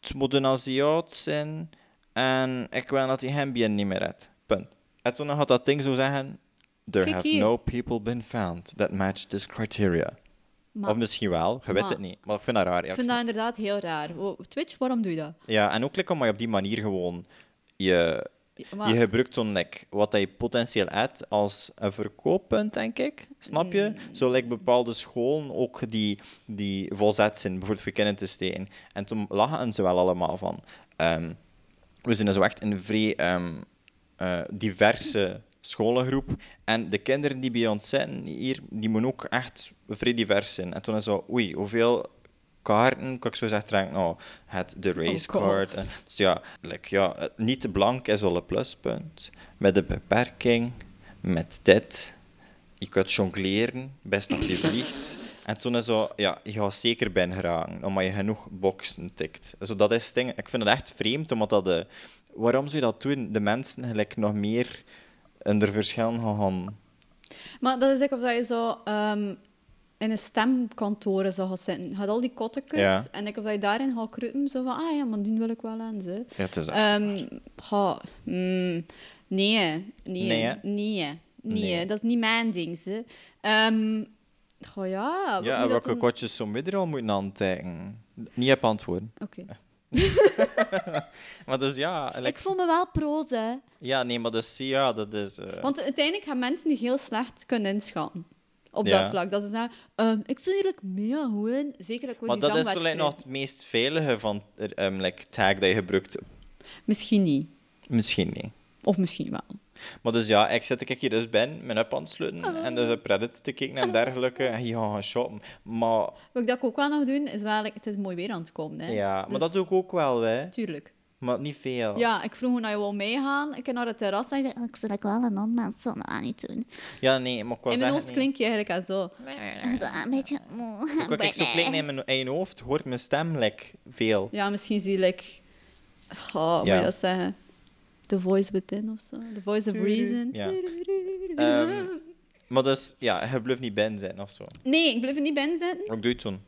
S2: Het moet een Aziat zijn. En ik wil dat hij hem bien niet meer heeft. Punt. En toen had dat ding zo zeggen... There
S1: Kijk
S2: have
S1: hier.
S2: no people been found that match this criteria.
S1: Maar
S2: of misschien wel, je weet
S1: maar-
S2: het niet. Maar ik vind dat raar. Ja,
S1: ik
S2: ik
S1: vind dat
S2: snap-
S1: inderdaad heel raar. Wo- Twitch, waarom doe je dat?
S2: ja en ook like, omdat je op die manier gewoon... Je,
S1: Maar-
S2: je gebruikt dan like, wat dat je potentieel hebt als een verkooppunt, denk ik. Snap je? Zo like, bepaalde scholen ook die, die volzet zijn, bijvoorbeeld voor kinderen te steken. En toen lachen ze wel allemaal van. Ehm, we zijn zo echt een vrij ehm, eh, diverse scholengroep. En de kinderen die bij ons zijn hier, die moeten ook echt vrij divers zijn. En toen is zo, oei, hoeveel kaarten kan ik zo zeggen, drinken? nou, het de
S1: Oh God.
S2: racecard. en- eh, dus ja, like, ja, het niet blank is al een pluspunt. Met een beperking met dit. Ik kan jongleren, best nog je vliegt. En toen zo, ja, je gaat zeker ben geraken, omdat je genoeg boksen tikt. Zo, dat is het ding. Ik vind het echt vreemd, omdat dat... De, waarom zou je dat doen? De mensen gelijk nog meer onder verschillen gaan...
S1: Maar dat is ook of dat je zo ehm, in een stemkantoren zou gaan zitten. Je had al die kottekes.
S2: Ja.
S1: En ik of dat je daarin gaat kruipen. Zo van, ah ja, maar die wil ik wel aan, ze.
S2: Ja, het is echt...
S1: Ehm, ga, mm, nee, hè. nee,
S2: Nee,
S1: nee,
S2: hè?
S1: nee,
S2: Nee.
S1: hè. dat is niet mijn ding. Ze. Ehm, goh, ja, wat
S2: ja,
S1: moet
S2: en
S1: dat
S2: welke
S1: dan-
S2: kotjes zo midden al moeten aantijken? Niet op antwoorden.
S1: Oké.
S2: Maar dus ja,
S1: Ik
S2: like-
S1: voel me wel proze.
S2: ja, nee, maar dus ja, dat is... eh,
S1: Want uiteindelijk gaan mensen die heel slecht kunnen inschatten. Op dat
S2: Ja.
S1: vlak. Dat ze zeggen, ehm, ik vind eigenlijk mega goed. in. Zeker ook
S2: maar
S1: met die
S2: dat is toch
S1: zangwedstrijd.
S2: like, nog het meest veilige van eh, ehm, like, tag dat je gebruikt.
S1: Misschien niet.
S2: Misschien niet.
S1: Of misschien wel.
S2: Maar dus ja, ik zit ik hier dus ben, mijn app aan het sluiten
S1: Oh.
S2: en dus op Reddit te kijken en dergelijke. En hier gaan gaan shoppen. Maar
S1: Wat ik dat ook wel nog doen, is wel... like, Het is mooi weer aan het komen, hè.
S2: ja, maar
S1: Dus,
S2: dat doe ik ook wel, hè.
S1: Tuurlijk.
S2: Maar niet veel.
S1: Ja, ik vroeg naar je wou meegaan. Ik ging naar het terras en ik zei...
S3: Ik zou dat wel een ander mens dan aan niet doen.
S2: Ja, nee, maar ik was
S1: In mijn
S2: echt
S1: hoofd
S2: niet-
S1: klink je eigenlijk al zo.
S3: Zo een beetje moe.
S2: Ook als ik zo klink in mijn eigen hoofd, hoort mijn stem like, veel.
S1: Ja, misschien zie ik... Oh, moet
S2: Ja.
S1: je dat zeggen? The Voice Within of zo. The Voice of Reason.
S2: Ja. Ehm, Maar dus, ja, je blijft niet ben zijn of zo.
S1: Nee, ik bleef er niet binnen zitten.
S2: Ook doe je het toen.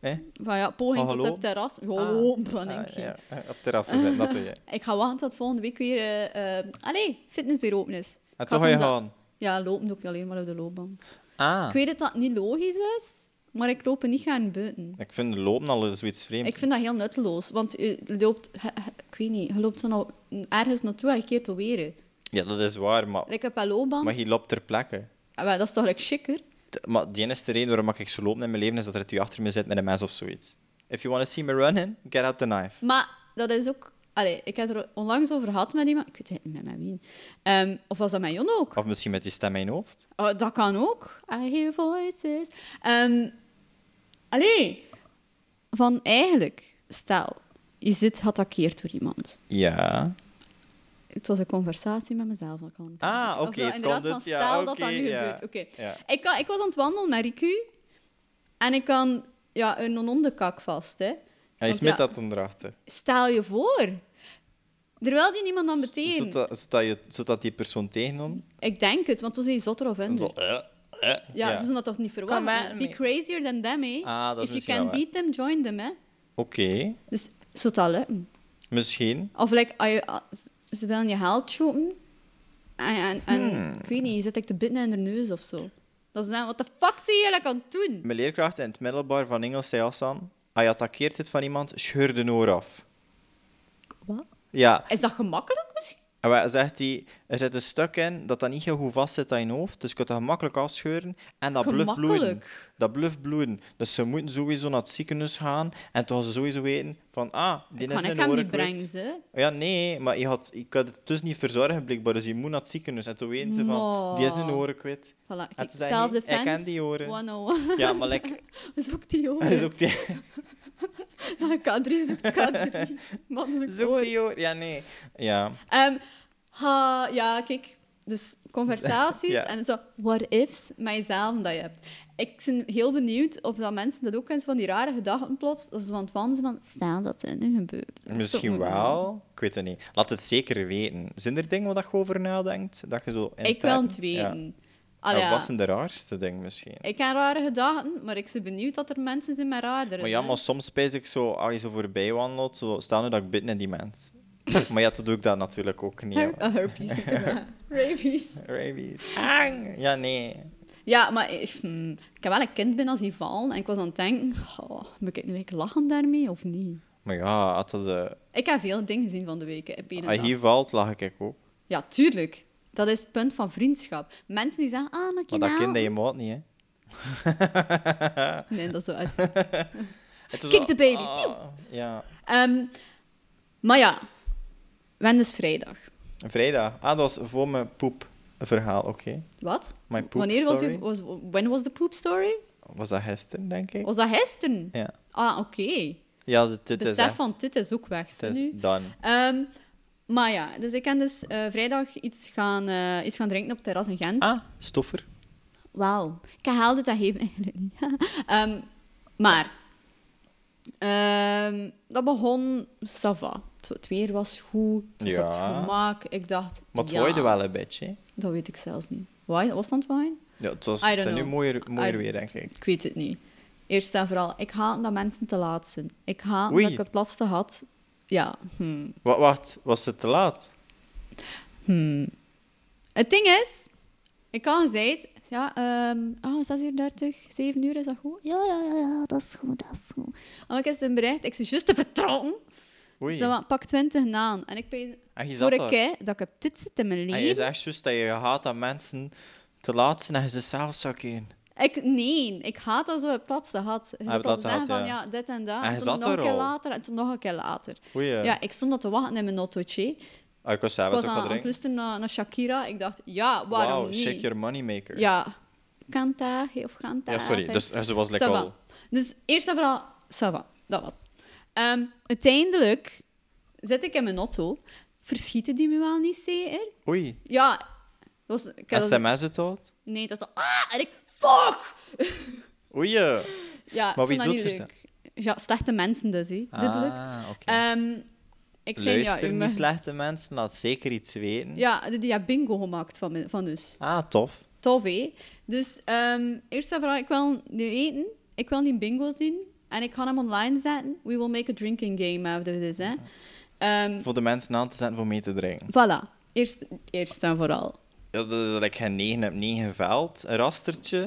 S2: Eh?
S1: Maar ja, poging
S2: Oh,
S1: tot
S2: hallo?
S1: op terras. Hallo, dan
S2: Ah,
S1: denk je.
S2: ja, eh, Op terrassen zijn, dat doe je.
S1: Ik ga wachten tot volgende week weer... eh, eh, allee, fitness weer open is.
S2: En
S1: Ik had
S2: toen ga je
S1: toen dat-
S2: Ah, gaan.
S1: Ja, lopen doe ik alleen maar op de loopbaan.
S2: Ah.
S1: Ik weet dat dat niet logisch is, maar ik loop er niet gaan buiten.
S2: Ik vind lopen al zoiets vreemd.
S1: Ik vind dat heel nutteloos, want eh, je loopt... je- je- Ik weet niet, je loopt zo nou ergens naartoe en je keert weer.
S2: Ja, dat is waar, maar,
S1: Ik heb een loopbaan.
S2: maar je loopt ter plekke.
S1: Ah, wel, Dat is toch like chicker?
S2: T- Maar de enige reden waarom ik zo loop in mijn leven is dat er twee achter me zit met een mes of zoiets. If you want to see me running, get out the knife.
S1: Maar dat is ook... Allee, ik heb er onlangs over gehad met iemand. Ik weet het niet met- met wie. Ehm, of was dat met Jon ook?
S2: Of misschien met die stem in je hoofd.
S1: Oh, dat kan ook. I hear voices. Ehm allee, van eigenlijk, stel, je zit geattaqueerd door iemand.
S2: Ja.
S1: Het was een conversatie met mezelf. Dat kan
S2: Ah,
S1: Of
S2: oké,
S1: dat
S2: het
S1: inderdaad
S2: kon
S1: van,
S2: het, ja,
S1: stel dat dat
S2: oké,
S1: nu
S2: ja.
S1: gebeurt. Oké.
S2: Ja.
S1: Ik, kan- ik was aan het wandelen met Riku. En ik kan ja, een non kak vast. Hè.
S2: Hij
S1: Want
S2: is met
S1: ja,
S2: dat onderachter.
S1: Stel je voor. Terwijl die niemand aan meteen.
S2: Zodat, zodat, je, zodat die persoon tegenkomt.
S1: Ik denk het, want toen zei je zotter of
S2: en
S1: hinder.
S2: zo, eh, eh,
S1: Ja, ze zijn dat toch niet verwacht.
S2: Come at
S1: Be
S2: me.
S1: crazier than them, hè.
S2: Ah, dat is
S1: If you
S2: misschien
S1: can
S2: wel waar.
S1: beat them, join them, hè.
S2: Oké,
S1: Dus zou dat lukken?
S2: misschien.
S1: Of like, als je- als- ze willen je held shooten. En, en, en
S2: Hmm.
S1: ik weet niet, je zit ik te bitten in de neus of zo. Dat ze zeggen, wat de fuck zie je eigenlijk aan het doen?
S2: Mijn leerkracht in het middelbaar van Engels zei als aan, als je attaqueert zit van iemand, scheur de oor af.
S1: Wat?
S2: Ja,
S1: Is dat gemakkelijk misschien?
S2: En wat zegt hij, er zit een stuk in dat dat niet heel goed vast zit aan je hoofd, dus je kunt dat gemakkelijk afscheuren en dat bluft bloeden.
S1: Gemakkelijk.
S2: Dat bluft bloeden. Dus ze moeten sowieso naar het ziekenhuis gaan en toen gaan ze sowieso weten van, ah, die
S1: Ik
S2: is
S1: kan ik
S2: een
S1: hem
S2: oren
S1: niet
S2: kwijt.
S1: brengen, ze.
S2: Ja, nee, maar je, had, je kunt het dus niet verzorgen, blijkbaar, dus je moet naar het ziekenhuis. En toen weten ze van,
S1: Maar.
S2: die is een oren kwijt.
S1: Voilà,
S2: En
S1: kijk,
S2: toen zei hij,
S1: self-defense.
S2: ik ken die oren.
S1: 101.
S2: Ja, maar like,
S1: Zoek die oren.
S2: zoek die,
S1: K3 zoekt K3. Man, zoekt
S2: zoek
S1: oren.
S2: die oor. Ja, nee. Ja.
S1: Ehm, ha, ja, kijk. Dus conversaties
S2: Ja.
S1: en zo what-ifs met jezelf dat je hebt. Ik ben heel benieuwd of dat mensen dat ook eens van die rare gedachten plots, dat ze van het wandelen van, staan dat het nu gebeurt.
S2: Misschien
S1: Zo, mm.
S2: wel. Ik weet het niet. Laat het zeker weten. Zijn er dingen waar je over nadenkt? Dat je zo
S1: Ik wil
S2: intern-
S1: het
S2: Ja.
S1: weten. Allee,
S2: Dat
S1: Ah, ja.
S2: was de raarste ding misschien.
S1: Ik heb rare gedachten, maar ik ben benieuwd dat er mensen zijn met raderen.
S2: Maar ja, maar soms spijs ik zo, als je zo voorbij wandelt, zo, staan nu dat ik bid in die mens. maar ja, dat doe ik dat natuurlijk ook niet. hè.
S1: Oh, herpes. heb ik gezegd. Rabies.
S2: Rabies. Ang! Ja, nee.
S1: Ja, maar ik, hmm, ik heb wel een kind binnen als die vallen en ik was aan het denken, oh, moet ik nu eigenlijk lachen daarmee of niet?
S2: Maar ja, als dat, eh,
S1: Ik heb veel dingen gezien van de weken. Op één
S2: als
S1: dag.
S2: Ah, hier valt, lag ik ook.
S1: Ja, tuurlijk. Dat is het punt van vriendschap. Mensen die zeggen, ah, maar
S2: Maar
S1: kanaal...
S2: dat kind dat je maat niet, hè.
S1: ah, Nee, dat is waar.
S2: Het is
S1: Kick
S2: zo,
S1: the baby.
S2: ah, ja.
S1: Ehm, maar ja, wen is vrijdag.
S2: Vrijdag. Ah, dat was voor mijn poepverhaal, oké.
S1: Wat?
S2: Mijn poep
S1: Wanneer was,
S2: story.
S1: die, was When was de poop story?
S2: Was dat gisteren, denk ik?
S1: Was dat gisteren?
S2: Ja.
S1: Ah, oké.
S2: Ja, dit, dit is
S1: Besef
S2: echt...
S1: van dit is ook weg,
S2: Het
S1: zie
S2: is
S1: nu.
S2: done.
S1: Ehm, Maar ja, dus ik kan dus eh, vrijdag iets gaan, eh, iets gaan drinken op het terras in Gent.
S2: Ah, stoffer.
S1: Wauw. Ik haalde dat even eigenlijk niet. Ehm, maar, ehm, dat begon ça va. Het- Het weer was goed, het was
S2: Ja.
S1: op het gemak. Ik dacht,
S2: Maar het
S1: ja,
S2: waaide wel een beetje. hè.
S1: Dat weet ik zelfs niet. Waai, was dat wijn?
S2: Ja, het was
S1: I don't
S2: het is nu
S1: know.
S2: mooier, mooier
S1: I-
S2: weer, denk ik.
S1: Ik weet het niet. Eerst en vooral, ik haat dat mensen te laat zijn. Ik haat
S2: Oei.
S1: dat ik het laatste had. Ja, hmm.
S2: Wa- wacht, was het te laat?
S1: Hmm. Het ding is, ik had gezegd, ja, ehm ah, 6 uur 30, 7 uur, is dat goed?
S3: Ja, ja, ja, ja, dat is goed, dat is goed.
S1: Maar ik is een bericht, ik zei juist te vertrokken.
S2: Oei.
S1: Ze wa- pak 20 na. En ik ben
S2: En je zat
S1: vorige
S2: daar.
S1: keer dat ik heb dit zit in mijn
S2: En je
S1: leven.
S2: zegt juist dat je haat dat mensen te laat zijn en je ze zelf zakken.
S1: Ik, nee, ik haat dat zo het platste had. Je
S2: Ah,
S1: zat
S2: het
S1: al te
S2: laatste
S1: zeggen
S2: had,
S1: van
S2: ja.
S1: ja, dit en dat.
S2: En
S1: En,
S2: je
S1: toen
S2: zat
S1: nog een
S2: er
S1: keer
S2: al.
S1: later en toen nog een keer later.
S2: Oei.
S1: Ja,
S2: eh.
S1: ik stond dat te wachten in mijn autootje.
S2: Ah, ik was zelf
S1: Ik was
S2: ook gaan
S1: aan aan het
S2: drinken.
S1: luisteren naar, naar Shakira. Ik dacht, ja, waarom
S2: Wauw,
S1: niet?
S2: shake your moneymaker.
S1: Ja, Kanta of Kanta.
S2: Ja, sorry. Dus eh, ze was
S1: Ça
S2: lekker
S1: va.
S2: al.
S1: Dus eerst en vooral, ça va, dat was. Ehm, uiteindelijk zit ik in mijn auto. Verschieten die me wel niet zeker?
S2: Oei.
S1: Ja, dat was, ik had dat,
S2: SMS het al?
S1: nee, dat was ah, en ik, fuck!
S2: Oei. eh.
S1: Ja,
S2: Maar
S1: maar
S2: wie
S1: wie dat niet
S2: doet
S1: leuk. Ja, slechte mensen dus, hè, duidelijk.
S2: Ah, oké.
S1: Ehm, ik zei, ja,
S2: Luister,
S1: u
S2: niet
S1: mag-
S2: slechte mensen, laat zeker iets weten.
S1: ja, die, die hebben bingo gemaakt van, me- van dus.
S2: Ah, tof.
S1: Tof, hé. Dus ehm, eerst en vooral, ik wil nu eten. Ik wil die bingo zien. En ik ga hem online zetten. We will make a drinking game out of this, hè. Ehm,
S2: Voor de mensen aan te zetten voor mee te drinken.
S1: voilà. Eerst, eerst en vooral.
S2: Ja, dat dat ik geen 9 heb 9 veld, een rastertje.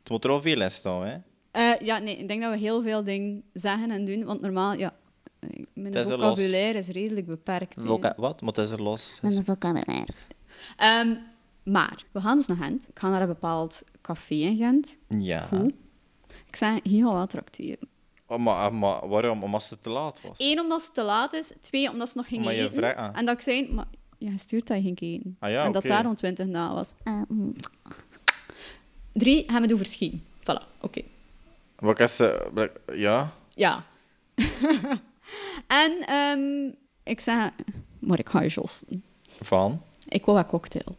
S2: Het moet er al veel in staan, hè?
S1: Eh, ja, nee, ik denk dat we heel veel dingen zeggen en doen, want normaal, ja, eh, mijn
S2: Het is er los.
S1: vocabulaire is redelijk beperkt. hè.
S2: Loka- wat? Maar het is er los.
S3: Met een vocabulaire.
S1: Ehm, maar, we gaan dus naar Gent. Ik ga naar een bepaald café in Gent.
S2: Ja.
S1: Goed. Ik zei, hier gaan we wel tracteren.
S2: Oh, maar, ah, maar waarom? Omdat ze te laat was.
S1: Eén, omdat het te laat is. Twee, omdat ze nog ging
S2: Maar je
S1: eten.
S2: vraagt- ah.
S1: En dat ik zei, maar je stuurt dat je ging eten.
S2: Ah ja,
S1: en dat
S2: oké.
S1: daar om twintig na was.
S3: Eh, mm,
S1: Drie, gaan we doen verschieten. Voilà, oké.
S2: Wat is ze? Ja.
S1: Ja. en ehm, ik zei, maar ik ga je josten.
S2: Van?
S1: Ik wil wat cocktail.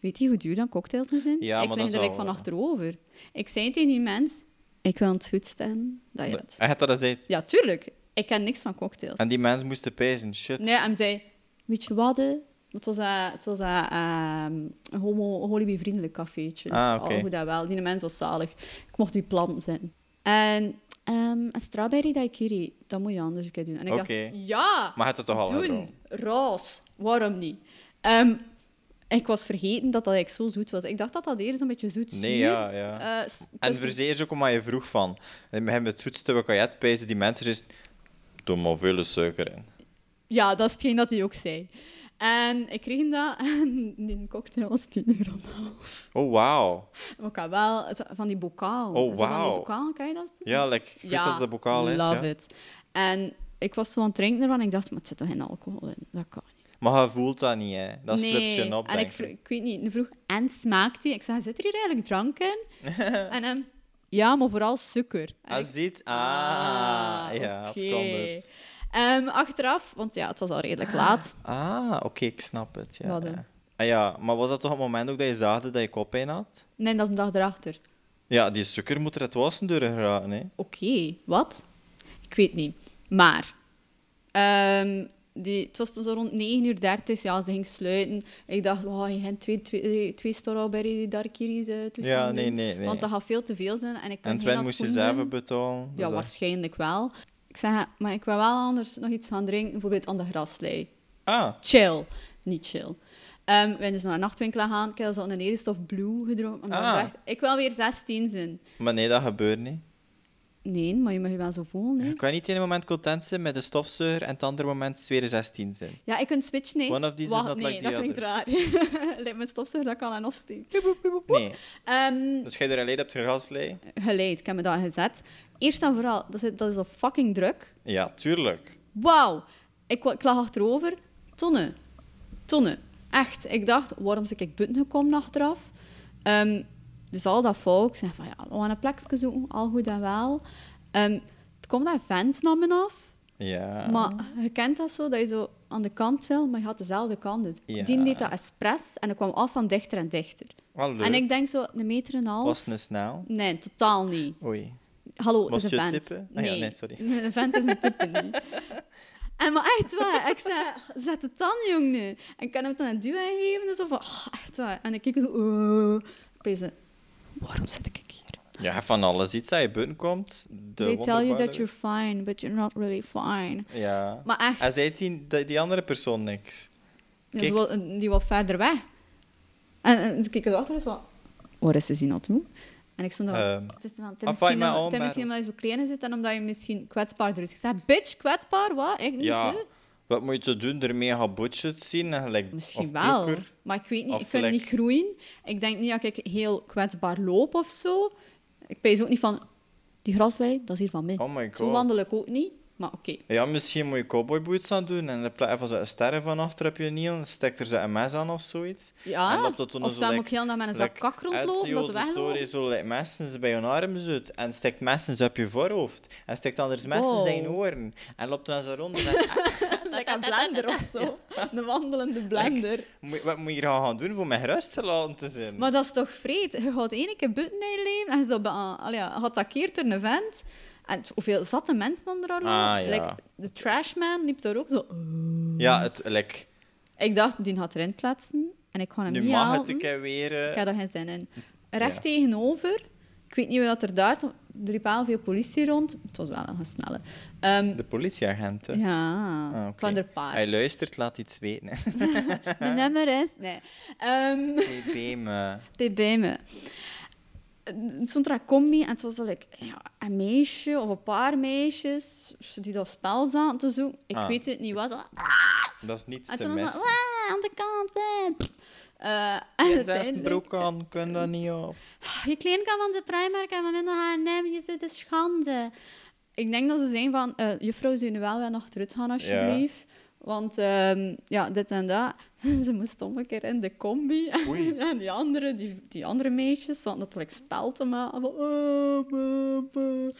S1: Weet je hoe duur dan cocktails nu zijn?
S2: Ja,
S1: ik
S2: maar
S1: lig
S2: dat
S1: er
S2: is
S1: like
S2: wel-
S1: van achterover. Ik zei tegen die mens, ik wil het goed staan Ah, dat je het...
S2: Hij had dat gezegd.
S1: Ja, tuurlijk. Ik ken niks van cocktails.
S2: En die mensen moesten pijzen. Shit.
S1: Nee, en zei, weet je wat? hè? Het was, eh, het was eh, ehm, een homo homobievriendelijk cafeetje. Dus
S2: Ah, oké.
S1: al goed dat wel. Die mens was zalig. Ik mocht die planten zijn. En ehm een strawberry daiquiri, dat moet je anders een keer doen. En ik
S2: Oké.
S1: dacht, ja,
S2: Maar hij had het toch al gedaan?
S1: doen. Roos, waarom niet? Ehm, ik was vergeten dat dat eigenlijk zo zoet was. Ik dacht dat dat eerst een beetje zoet eh,
S2: Nee, ja, ja. En verzeer
S1: dus-
S2: is ook omdat je vroeg van. We hebben het zoetste wat je hebt pijzen. Die mensen is. Doe maar veel suiker in.
S1: Ja, dat is hetgeen dat hij ook zei. En ik kreeg dat en die cocktail was 10 euro en een half.
S2: Oh, wauw.
S1: Ook al wel, zo- van die bokaal.
S2: Oh,
S1: Zo Van die
S2: wauw.
S1: bokaal, kan je dat?
S2: Ja, like, ik weet dat het een bokaal is.
S1: love
S2: ja.
S1: it. En ik was zo aan het drinken ervan en ik dacht, maar het zit toch geen alcohol in? Dat kan niet.
S2: Maar je voelt dat niet, hè? Dat slipt je op.
S1: En
S2: denk
S1: ik, vroeg- ik weet niet, ik vroeg, en smaakt die? Ik zei, zit er hier eigenlijk drank in? en hem, ja, maar vooral suiker. En
S2: Ah,
S1: ik-
S2: ziet. Ah, ja,
S1: oké.
S2: het kan het.
S1: Ehm, achteraf, want ja, het was al redelijk laat.
S2: Ah, oké, ik snap het. Ja,
S1: Wat dan?
S2: ja. Ah, ja, maar was dat toch het moment ook dat je zag dat je koppijn had?
S1: Nee, dat is een dag erachter.
S2: Ja, die suiker moet er het wassen door geraken, hè?
S1: Oké, wat? Ik weet niet. Maar, ehm, die, het was toen zo rond 9 uur 30, ja, ze ging sluiten. Ik dacht, oh, je hebt twee, twee, twee strawberry die darkiris eh toestaan
S2: Ja, nee,
S1: doen,
S2: nee, nee.
S1: Want dat gaat veel te veel zijn en ik
S2: En
S1: kan geen
S2: Twen moest je
S1: alcohol
S2: zelf
S1: doen.
S2: betalen.
S1: Ja,
S2: dus dat-
S1: waarschijnlijk wel. Ik zei, maar ik wil wel anders nog iets gaan drinken, bijvoorbeeld aan de graslei.
S2: Ah,
S1: Chill. Niet chill. Ehm we zijn dus naar een nachtwinkel gaan. Ik heb zo'n een Erestof Blue gedronken. Maar
S2: Ah.
S1: ik dacht, ik wil weer 16 zijn.
S2: maar nee, dat gebeurt niet.
S1: Nee, maar je mag je wel zo voelen, hè.
S2: Je kan niet in een moment content zijn met de stofzuiger en het andere moment weer 16 zijn.
S1: Ja, ik kan switchen, nee.
S2: One of these is
S1: Wacht,
S2: not
S1: nee,
S2: like the
S1: dat klinkt raar. Lijkt mijn stofzuiger, dat kan aan afsteken.
S2: Nee.
S1: Ehm
S2: Dus jij er alleen op het gaslei?
S1: geleid, ik heb me dat gezet. Eerst en vooral, dat is, dat is al fucking druk.
S2: Ja, tuurlijk.
S1: Wauw. Ik, wa- ik lag achterover. Tonnen. Tonnen. Echt. Ik dacht, waarom zit ik buiten gekomen achteraf? Ehm, dus al dat volk zei van, ja, we gaan een plekje zoeken. Al goed en wel. Ehm, het komt dat vent naar me af.
S2: Ja.
S1: Maar
S2: Ah.
S1: je kent dat zo, dat je zo aan de kant wil, maar je had dezelfde kant doet.
S2: Ja.
S1: Die deed dat expres en dan kwam afstand dichter en dichter.
S2: Wel leuk.
S1: En ik denk zo, een meter en een half?
S2: Was het snel?
S1: Nee, totaal niet.
S2: Oei.
S1: Hallo,
S2: Was
S1: het is een
S2: je
S1: vent.
S2: tippen? Ah ja, nee, sorry.
S1: Een vent is mijn tippen niet. En maar echt waar, ik zei, zet het dan, jongen. En ik kan hem dan een duw geven en zo van, oh, echt waar. En ik keek zo, oh. Ik zei, waarom zit ik hier?
S2: Ja, van alles. Iets dat je binnenkomt. De
S1: They tell you that
S2: wonderbare-
S1: you're fine, but you're not really fine.
S2: Ja.
S1: Maar echt.
S2: En zei die, die- die andere persoon niks?
S1: Ja,
S2: Kijk.
S1: ze wil- die wat verder weg. En, en ze keken zo achter en ze van, waar is ze zien naartoe? En ik stond daar,
S2: Ehm,
S1: het is van,
S2: I
S1: ten misschien,
S2: find my own
S1: ten misschien omdat
S2: battles.
S1: je zo klein zit en omdat je misschien kwetsbaarder is. Ik zei, bitch, kwetsbaar, wat? Ik niet,
S2: Ja.
S1: zo.
S2: Wat moet je doen? Ermee gaan bullshit zien? En gelijk,
S1: Misschien
S2: of
S1: wel,
S2: koeker?
S1: maar ik weet niet,
S2: Of
S1: ik kan
S2: lek.
S1: niet groeien. Ik denk niet dat ik heel kwetsbaar loop of zo. Ik pees ook niet van, die graslijn, dat is hier van mij.
S2: Oh my
S1: Zo
S2: God.
S1: wandel ik ook niet, maar oké.
S2: Ja, misschien moet je cowboy boots aan doen. En in de plaats van zo'n sterren van achter heb je niet. En steekt er zo'n mes aan of zoiets.
S1: Ja,
S2: en loopt dat dan
S1: of
S2: zo
S1: dan
S2: like-
S1: moet ik heel dag met een zak
S2: like
S1: kak rondlopen, dat ze
S2: Ezio de
S1: weglopen.
S2: Tory zo like, mensen bij je arm zit. En steekt mensen op je voorhoofd. En steekt anders mensen
S1: Wow.
S2: zijn oren. En loopt dan zo rond. en zegt, "Ah,
S1: Like een blender of zo. Een wandelende blender.
S2: "Moet- Wat moet je hier gaan doen voor mij gerust gelaten te zijn?
S1: Maar dat is toch vreed? Je gaat één keer buiten in je leven en je is dat be- ah, allee, ja, geattaqueerd door een vent. En t- hoeveel zatte mensen onder haar
S2: Ah, ja.
S1: Like, de trashman liep daar ook zo... eh.
S2: Ja, het, like,
S1: Ik dacht, die gaat erin kletsen en ik ga hem
S2: nu
S1: niet
S2: mag het
S1: helpen.
S2: een keer weer. eh,
S1: Ik heb daar geen zin in. Recht
S2: Ja.
S1: tegenover, ik weet niet hoe dat er daar... Er liep wel veel politie rond. Het was wel een snelle. Ehm,
S2: De politieagenten.
S1: ja,
S2: Ah, oké.
S1: van der paard.
S2: Hij luistert, laat iets weten. hè.
S1: Mijn nummer is... Nee. Ehm,
S2: Nee, bij me.
S1: bij, bij me. Het stond er een combi en het was like, ja, een meisje of een paar meisjes die dat spel zaten te zoeken. Ik
S2: Ah.
S1: weet het niet. Was dat?
S2: Dat is niet
S1: En
S2: te
S1: toen was dat,
S2: missen.
S1: "Wah, aan de kant. wah." Eh, en
S2: Ja, Daar is een
S1: uiteindelijk,
S2: broek aan, kun dat niet op.
S1: Je klein kan van de Primark en van minder H&M, je zit de schande. Ik denk dat ze zijn van, eh juffrouw, zou je nu wel weer nog terug gaan alsjeblieft? Want ehm, ja, dit en dat. ze moest om een keer in de combi.
S2: Oei.
S1: en die andere, die, die andere meisjes zaten natuurlijk spel te maken. Van, "Ah, bah, bah."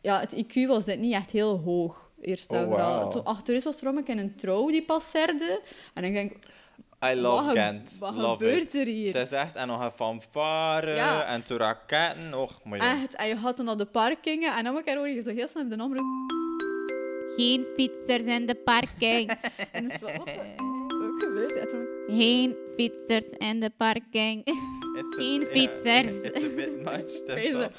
S1: Ja, het IQ was dit niet echt heel hoog. Eerst en
S2: Oh,
S1: vooral.
S2: wauw.
S1: Toen achter ons was er om een keer een trouw die passerde. En ik denk,
S2: I love
S1: Wat ge-
S2: Gent.
S1: wat
S2: love
S1: gebeurt
S2: it.
S1: er hier?
S2: Het is echt, en nog een fanfare,
S1: Ja. Eh,
S2: en toen raketten. Och, maar Ah, ja.
S1: Echt, en Ah, je had dan op de parkingen. En dan een keer hoor je zo heel snel op de omroep.
S4: Geen fietsers in de parking.
S1: En dan is het van, wat de- wat gebeurt er? En toen-
S4: Geen fietsers in de parking.
S2: It's a-
S4: geen
S2: ja,
S4: fietsers.
S2: It's a bit much. Het is
S1: Wees
S2: zo,
S1: er.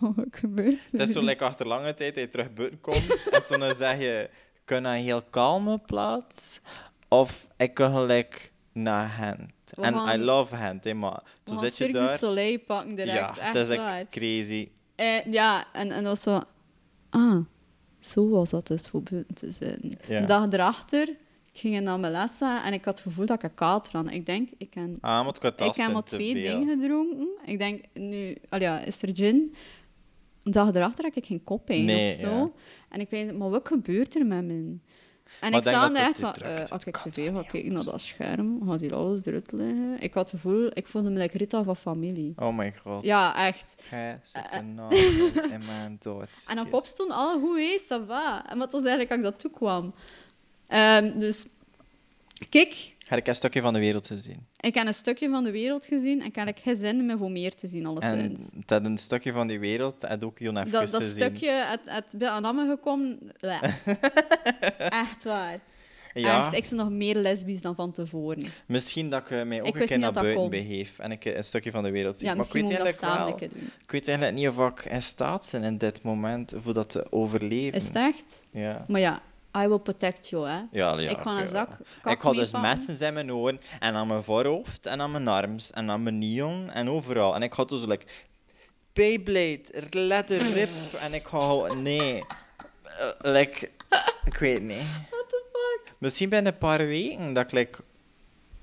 S1: Oh, Wat gebeurt
S2: het
S1: er?
S2: is zo lekker achter lange tijd dat je terug buiten komt. en toen dan zeg je, kun je een heel kalme plaats? Of ik kan gelijk naar Gent.
S1: We
S2: En
S1: gaan-
S2: I love Gent, hè, maar
S1: We
S2: toen
S1: gaan
S2: zit je
S1: Cirque du
S2: daar...
S1: Soleil pakken
S2: Ja,
S1: direct.
S2: dat
S1: echt
S2: is
S1: waar.
S2: echt crazy.
S1: Eh, ja, en, en dat was zo... Ah, zo was dat dus voor buiten te zijn.
S2: Ja.
S1: Een dag erachter, ik ging naar mijn lessen en ik had het gevoel dat ik een kater had. Ik denk, ik kan...
S2: Ah, want ik
S1: ik heb al twee dingen gedronken. Ik denk, nu, al ja, is er gin? Een dag erachter had ik geen koppijn
S2: Nee,
S1: of zo.
S2: ja.
S1: En ik weet, maar wat gebeurt er met me? En
S2: Maar
S1: ik
S2: denk
S1: zag
S2: dat
S1: daar
S2: het
S1: echt
S2: te
S1: van,
S2: druk
S1: eh,
S2: is,
S1: als
S2: het
S1: ik
S2: kan
S1: tv ga kijken naar dat scherm, gaat hier alles eruit liggen. Ik had het gevoel, ik voelde me like Rita van familie.
S2: Oh my god.
S1: Ja, echt.
S2: Gij zit een nagel in mijn doodskist.
S1: Eh. En op kop stond alle hoe hé, ça va. En wat was eigenlijk als ik dat toekwam. Ehm dus, kijk,
S2: Heb ik een stukje van de wereld gezien.
S1: ik heb een stukje van de wereld gezien en kan ik gezinnen me voor meer te zien,
S2: En
S1: alleszins.
S2: dat een stukje van die wereld had ook Jon even
S1: Dat, dat
S2: gezien.
S1: stukje uit, uit bij Anamme gekomen, bleh. echt waar.
S2: Ja,
S1: Echt, ik ben nog meer lesbisch dan van tevoren.
S2: misschien dat ik eh, mij ook
S1: Ik
S2: een
S1: wist
S2: keer
S1: niet
S2: naar
S1: dat dat
S2: buiten
S1: kon.
S2: begeef en ik eh, een stukje van de wereld zie.
S1: Ja,
S2: maar ik
S1: misschien
S2: weet
S1: moet ik dat
S2: eigenlijk
S1: samen
S2: wel.
S1: een keer doen.
S2: Ik weet eigenlijk niet of ik in staat ben in dit moment voor dat te overleven.
S1: Is het echt?
S2: Ja.
S1: Maar ja, I will protect you, hè.
S2: Ja, ja,
S1: ik ga
S2: oké,
S1: een zak
S2: wel.
S1: kak
S2: Ik had dus
S1: meepakken.
S2: messen in mijn oren en aan mijn voorhoofd en aan mijn arms en aan mijn nion en overal. En ik had dus like Beyblade, letter rip en ik hou nee, Eh, like ik weet niet.
S1: What the fuck?
S2: Misschien binnen een paar weken dat ik like,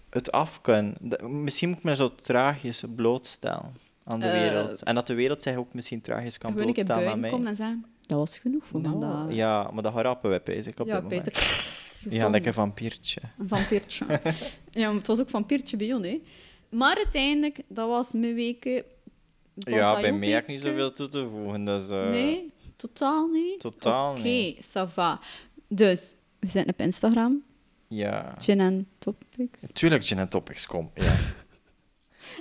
S2: het af kan. Dat- Misschien moet ik me zo traagjes blootstellen aan de
S1: Eh,
S2: wereld en dat de wereld zich ook misschien traagjes kan
S1: Gewoon een keer
S2: blootstellen aan
S1: buiten
S2: mij.
S1: komen en zeggen, dat was genoeg voor
S2: Nou,
S1: vandaag.
S2: ja, maar dat harappen we bezig op
S1: ja,
S2: dit moment.
S1: bezig. De
S2: Ja,
S1: zon.
S2: lekker vampiertje.
S1: Een vampiertje. ja, maar het was ook vampiertje bij ons, hè. Maar uiteindelijk, dat was mijn weken... Dat was
S2: Ja,
S1: dat
S2: bij
S1: jouw
S2: mij heb ik niet
S1: weken?
S2: zoveel toe te voegen. Dus, eh,
S1: Nee, totaal niet.
S2: Totaal
S1: Oké,
S2: niet.
S1: ça va. Dus, we zitten op Instagram.
S2: Ja.
S1: Gin en Topics.
S2: Tuurlijk, Gin en Topics, kom. Ja.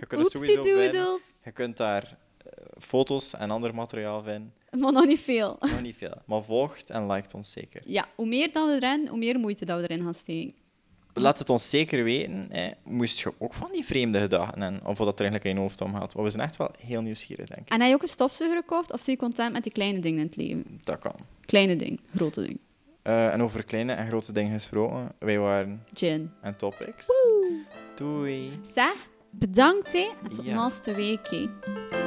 S2: Je kunt er
S1: Oepsie
S2: sowieso vinden.
S1: doodles.
S2: Je kunt daar eh, foto's en ander materiaal vinden.
S1: Maar nog niet veel.
S2: Nog niet veel. Maar volgt en liked ons zeker.
S1: Ja, hoe meer dat we erin, hoe meer moeite dat we erin gaan steken.
S2: Laat het ons zeker weten. Hè. Moest je ook van die vreemde gedachten en of wat dat er eigenlijk in je hoofd omgaat. Want we zijn echt wel heel nieuwsgierig, denk ik.
S1: En heb je ook een stofzuiger gekocht of zie je content met die kleine dingen in het leven?
S2: Dat kan.
S1: Kleine ding, grote ding.
S2: Eh, en over kleine en grote dingen gesproken. Wij waren
S1: Gin.
S2: en topics. Doei.
S1: Zeg, bedankt hè. En tot
S2: Ja.
S1: naast de week hè.
S2: Ja.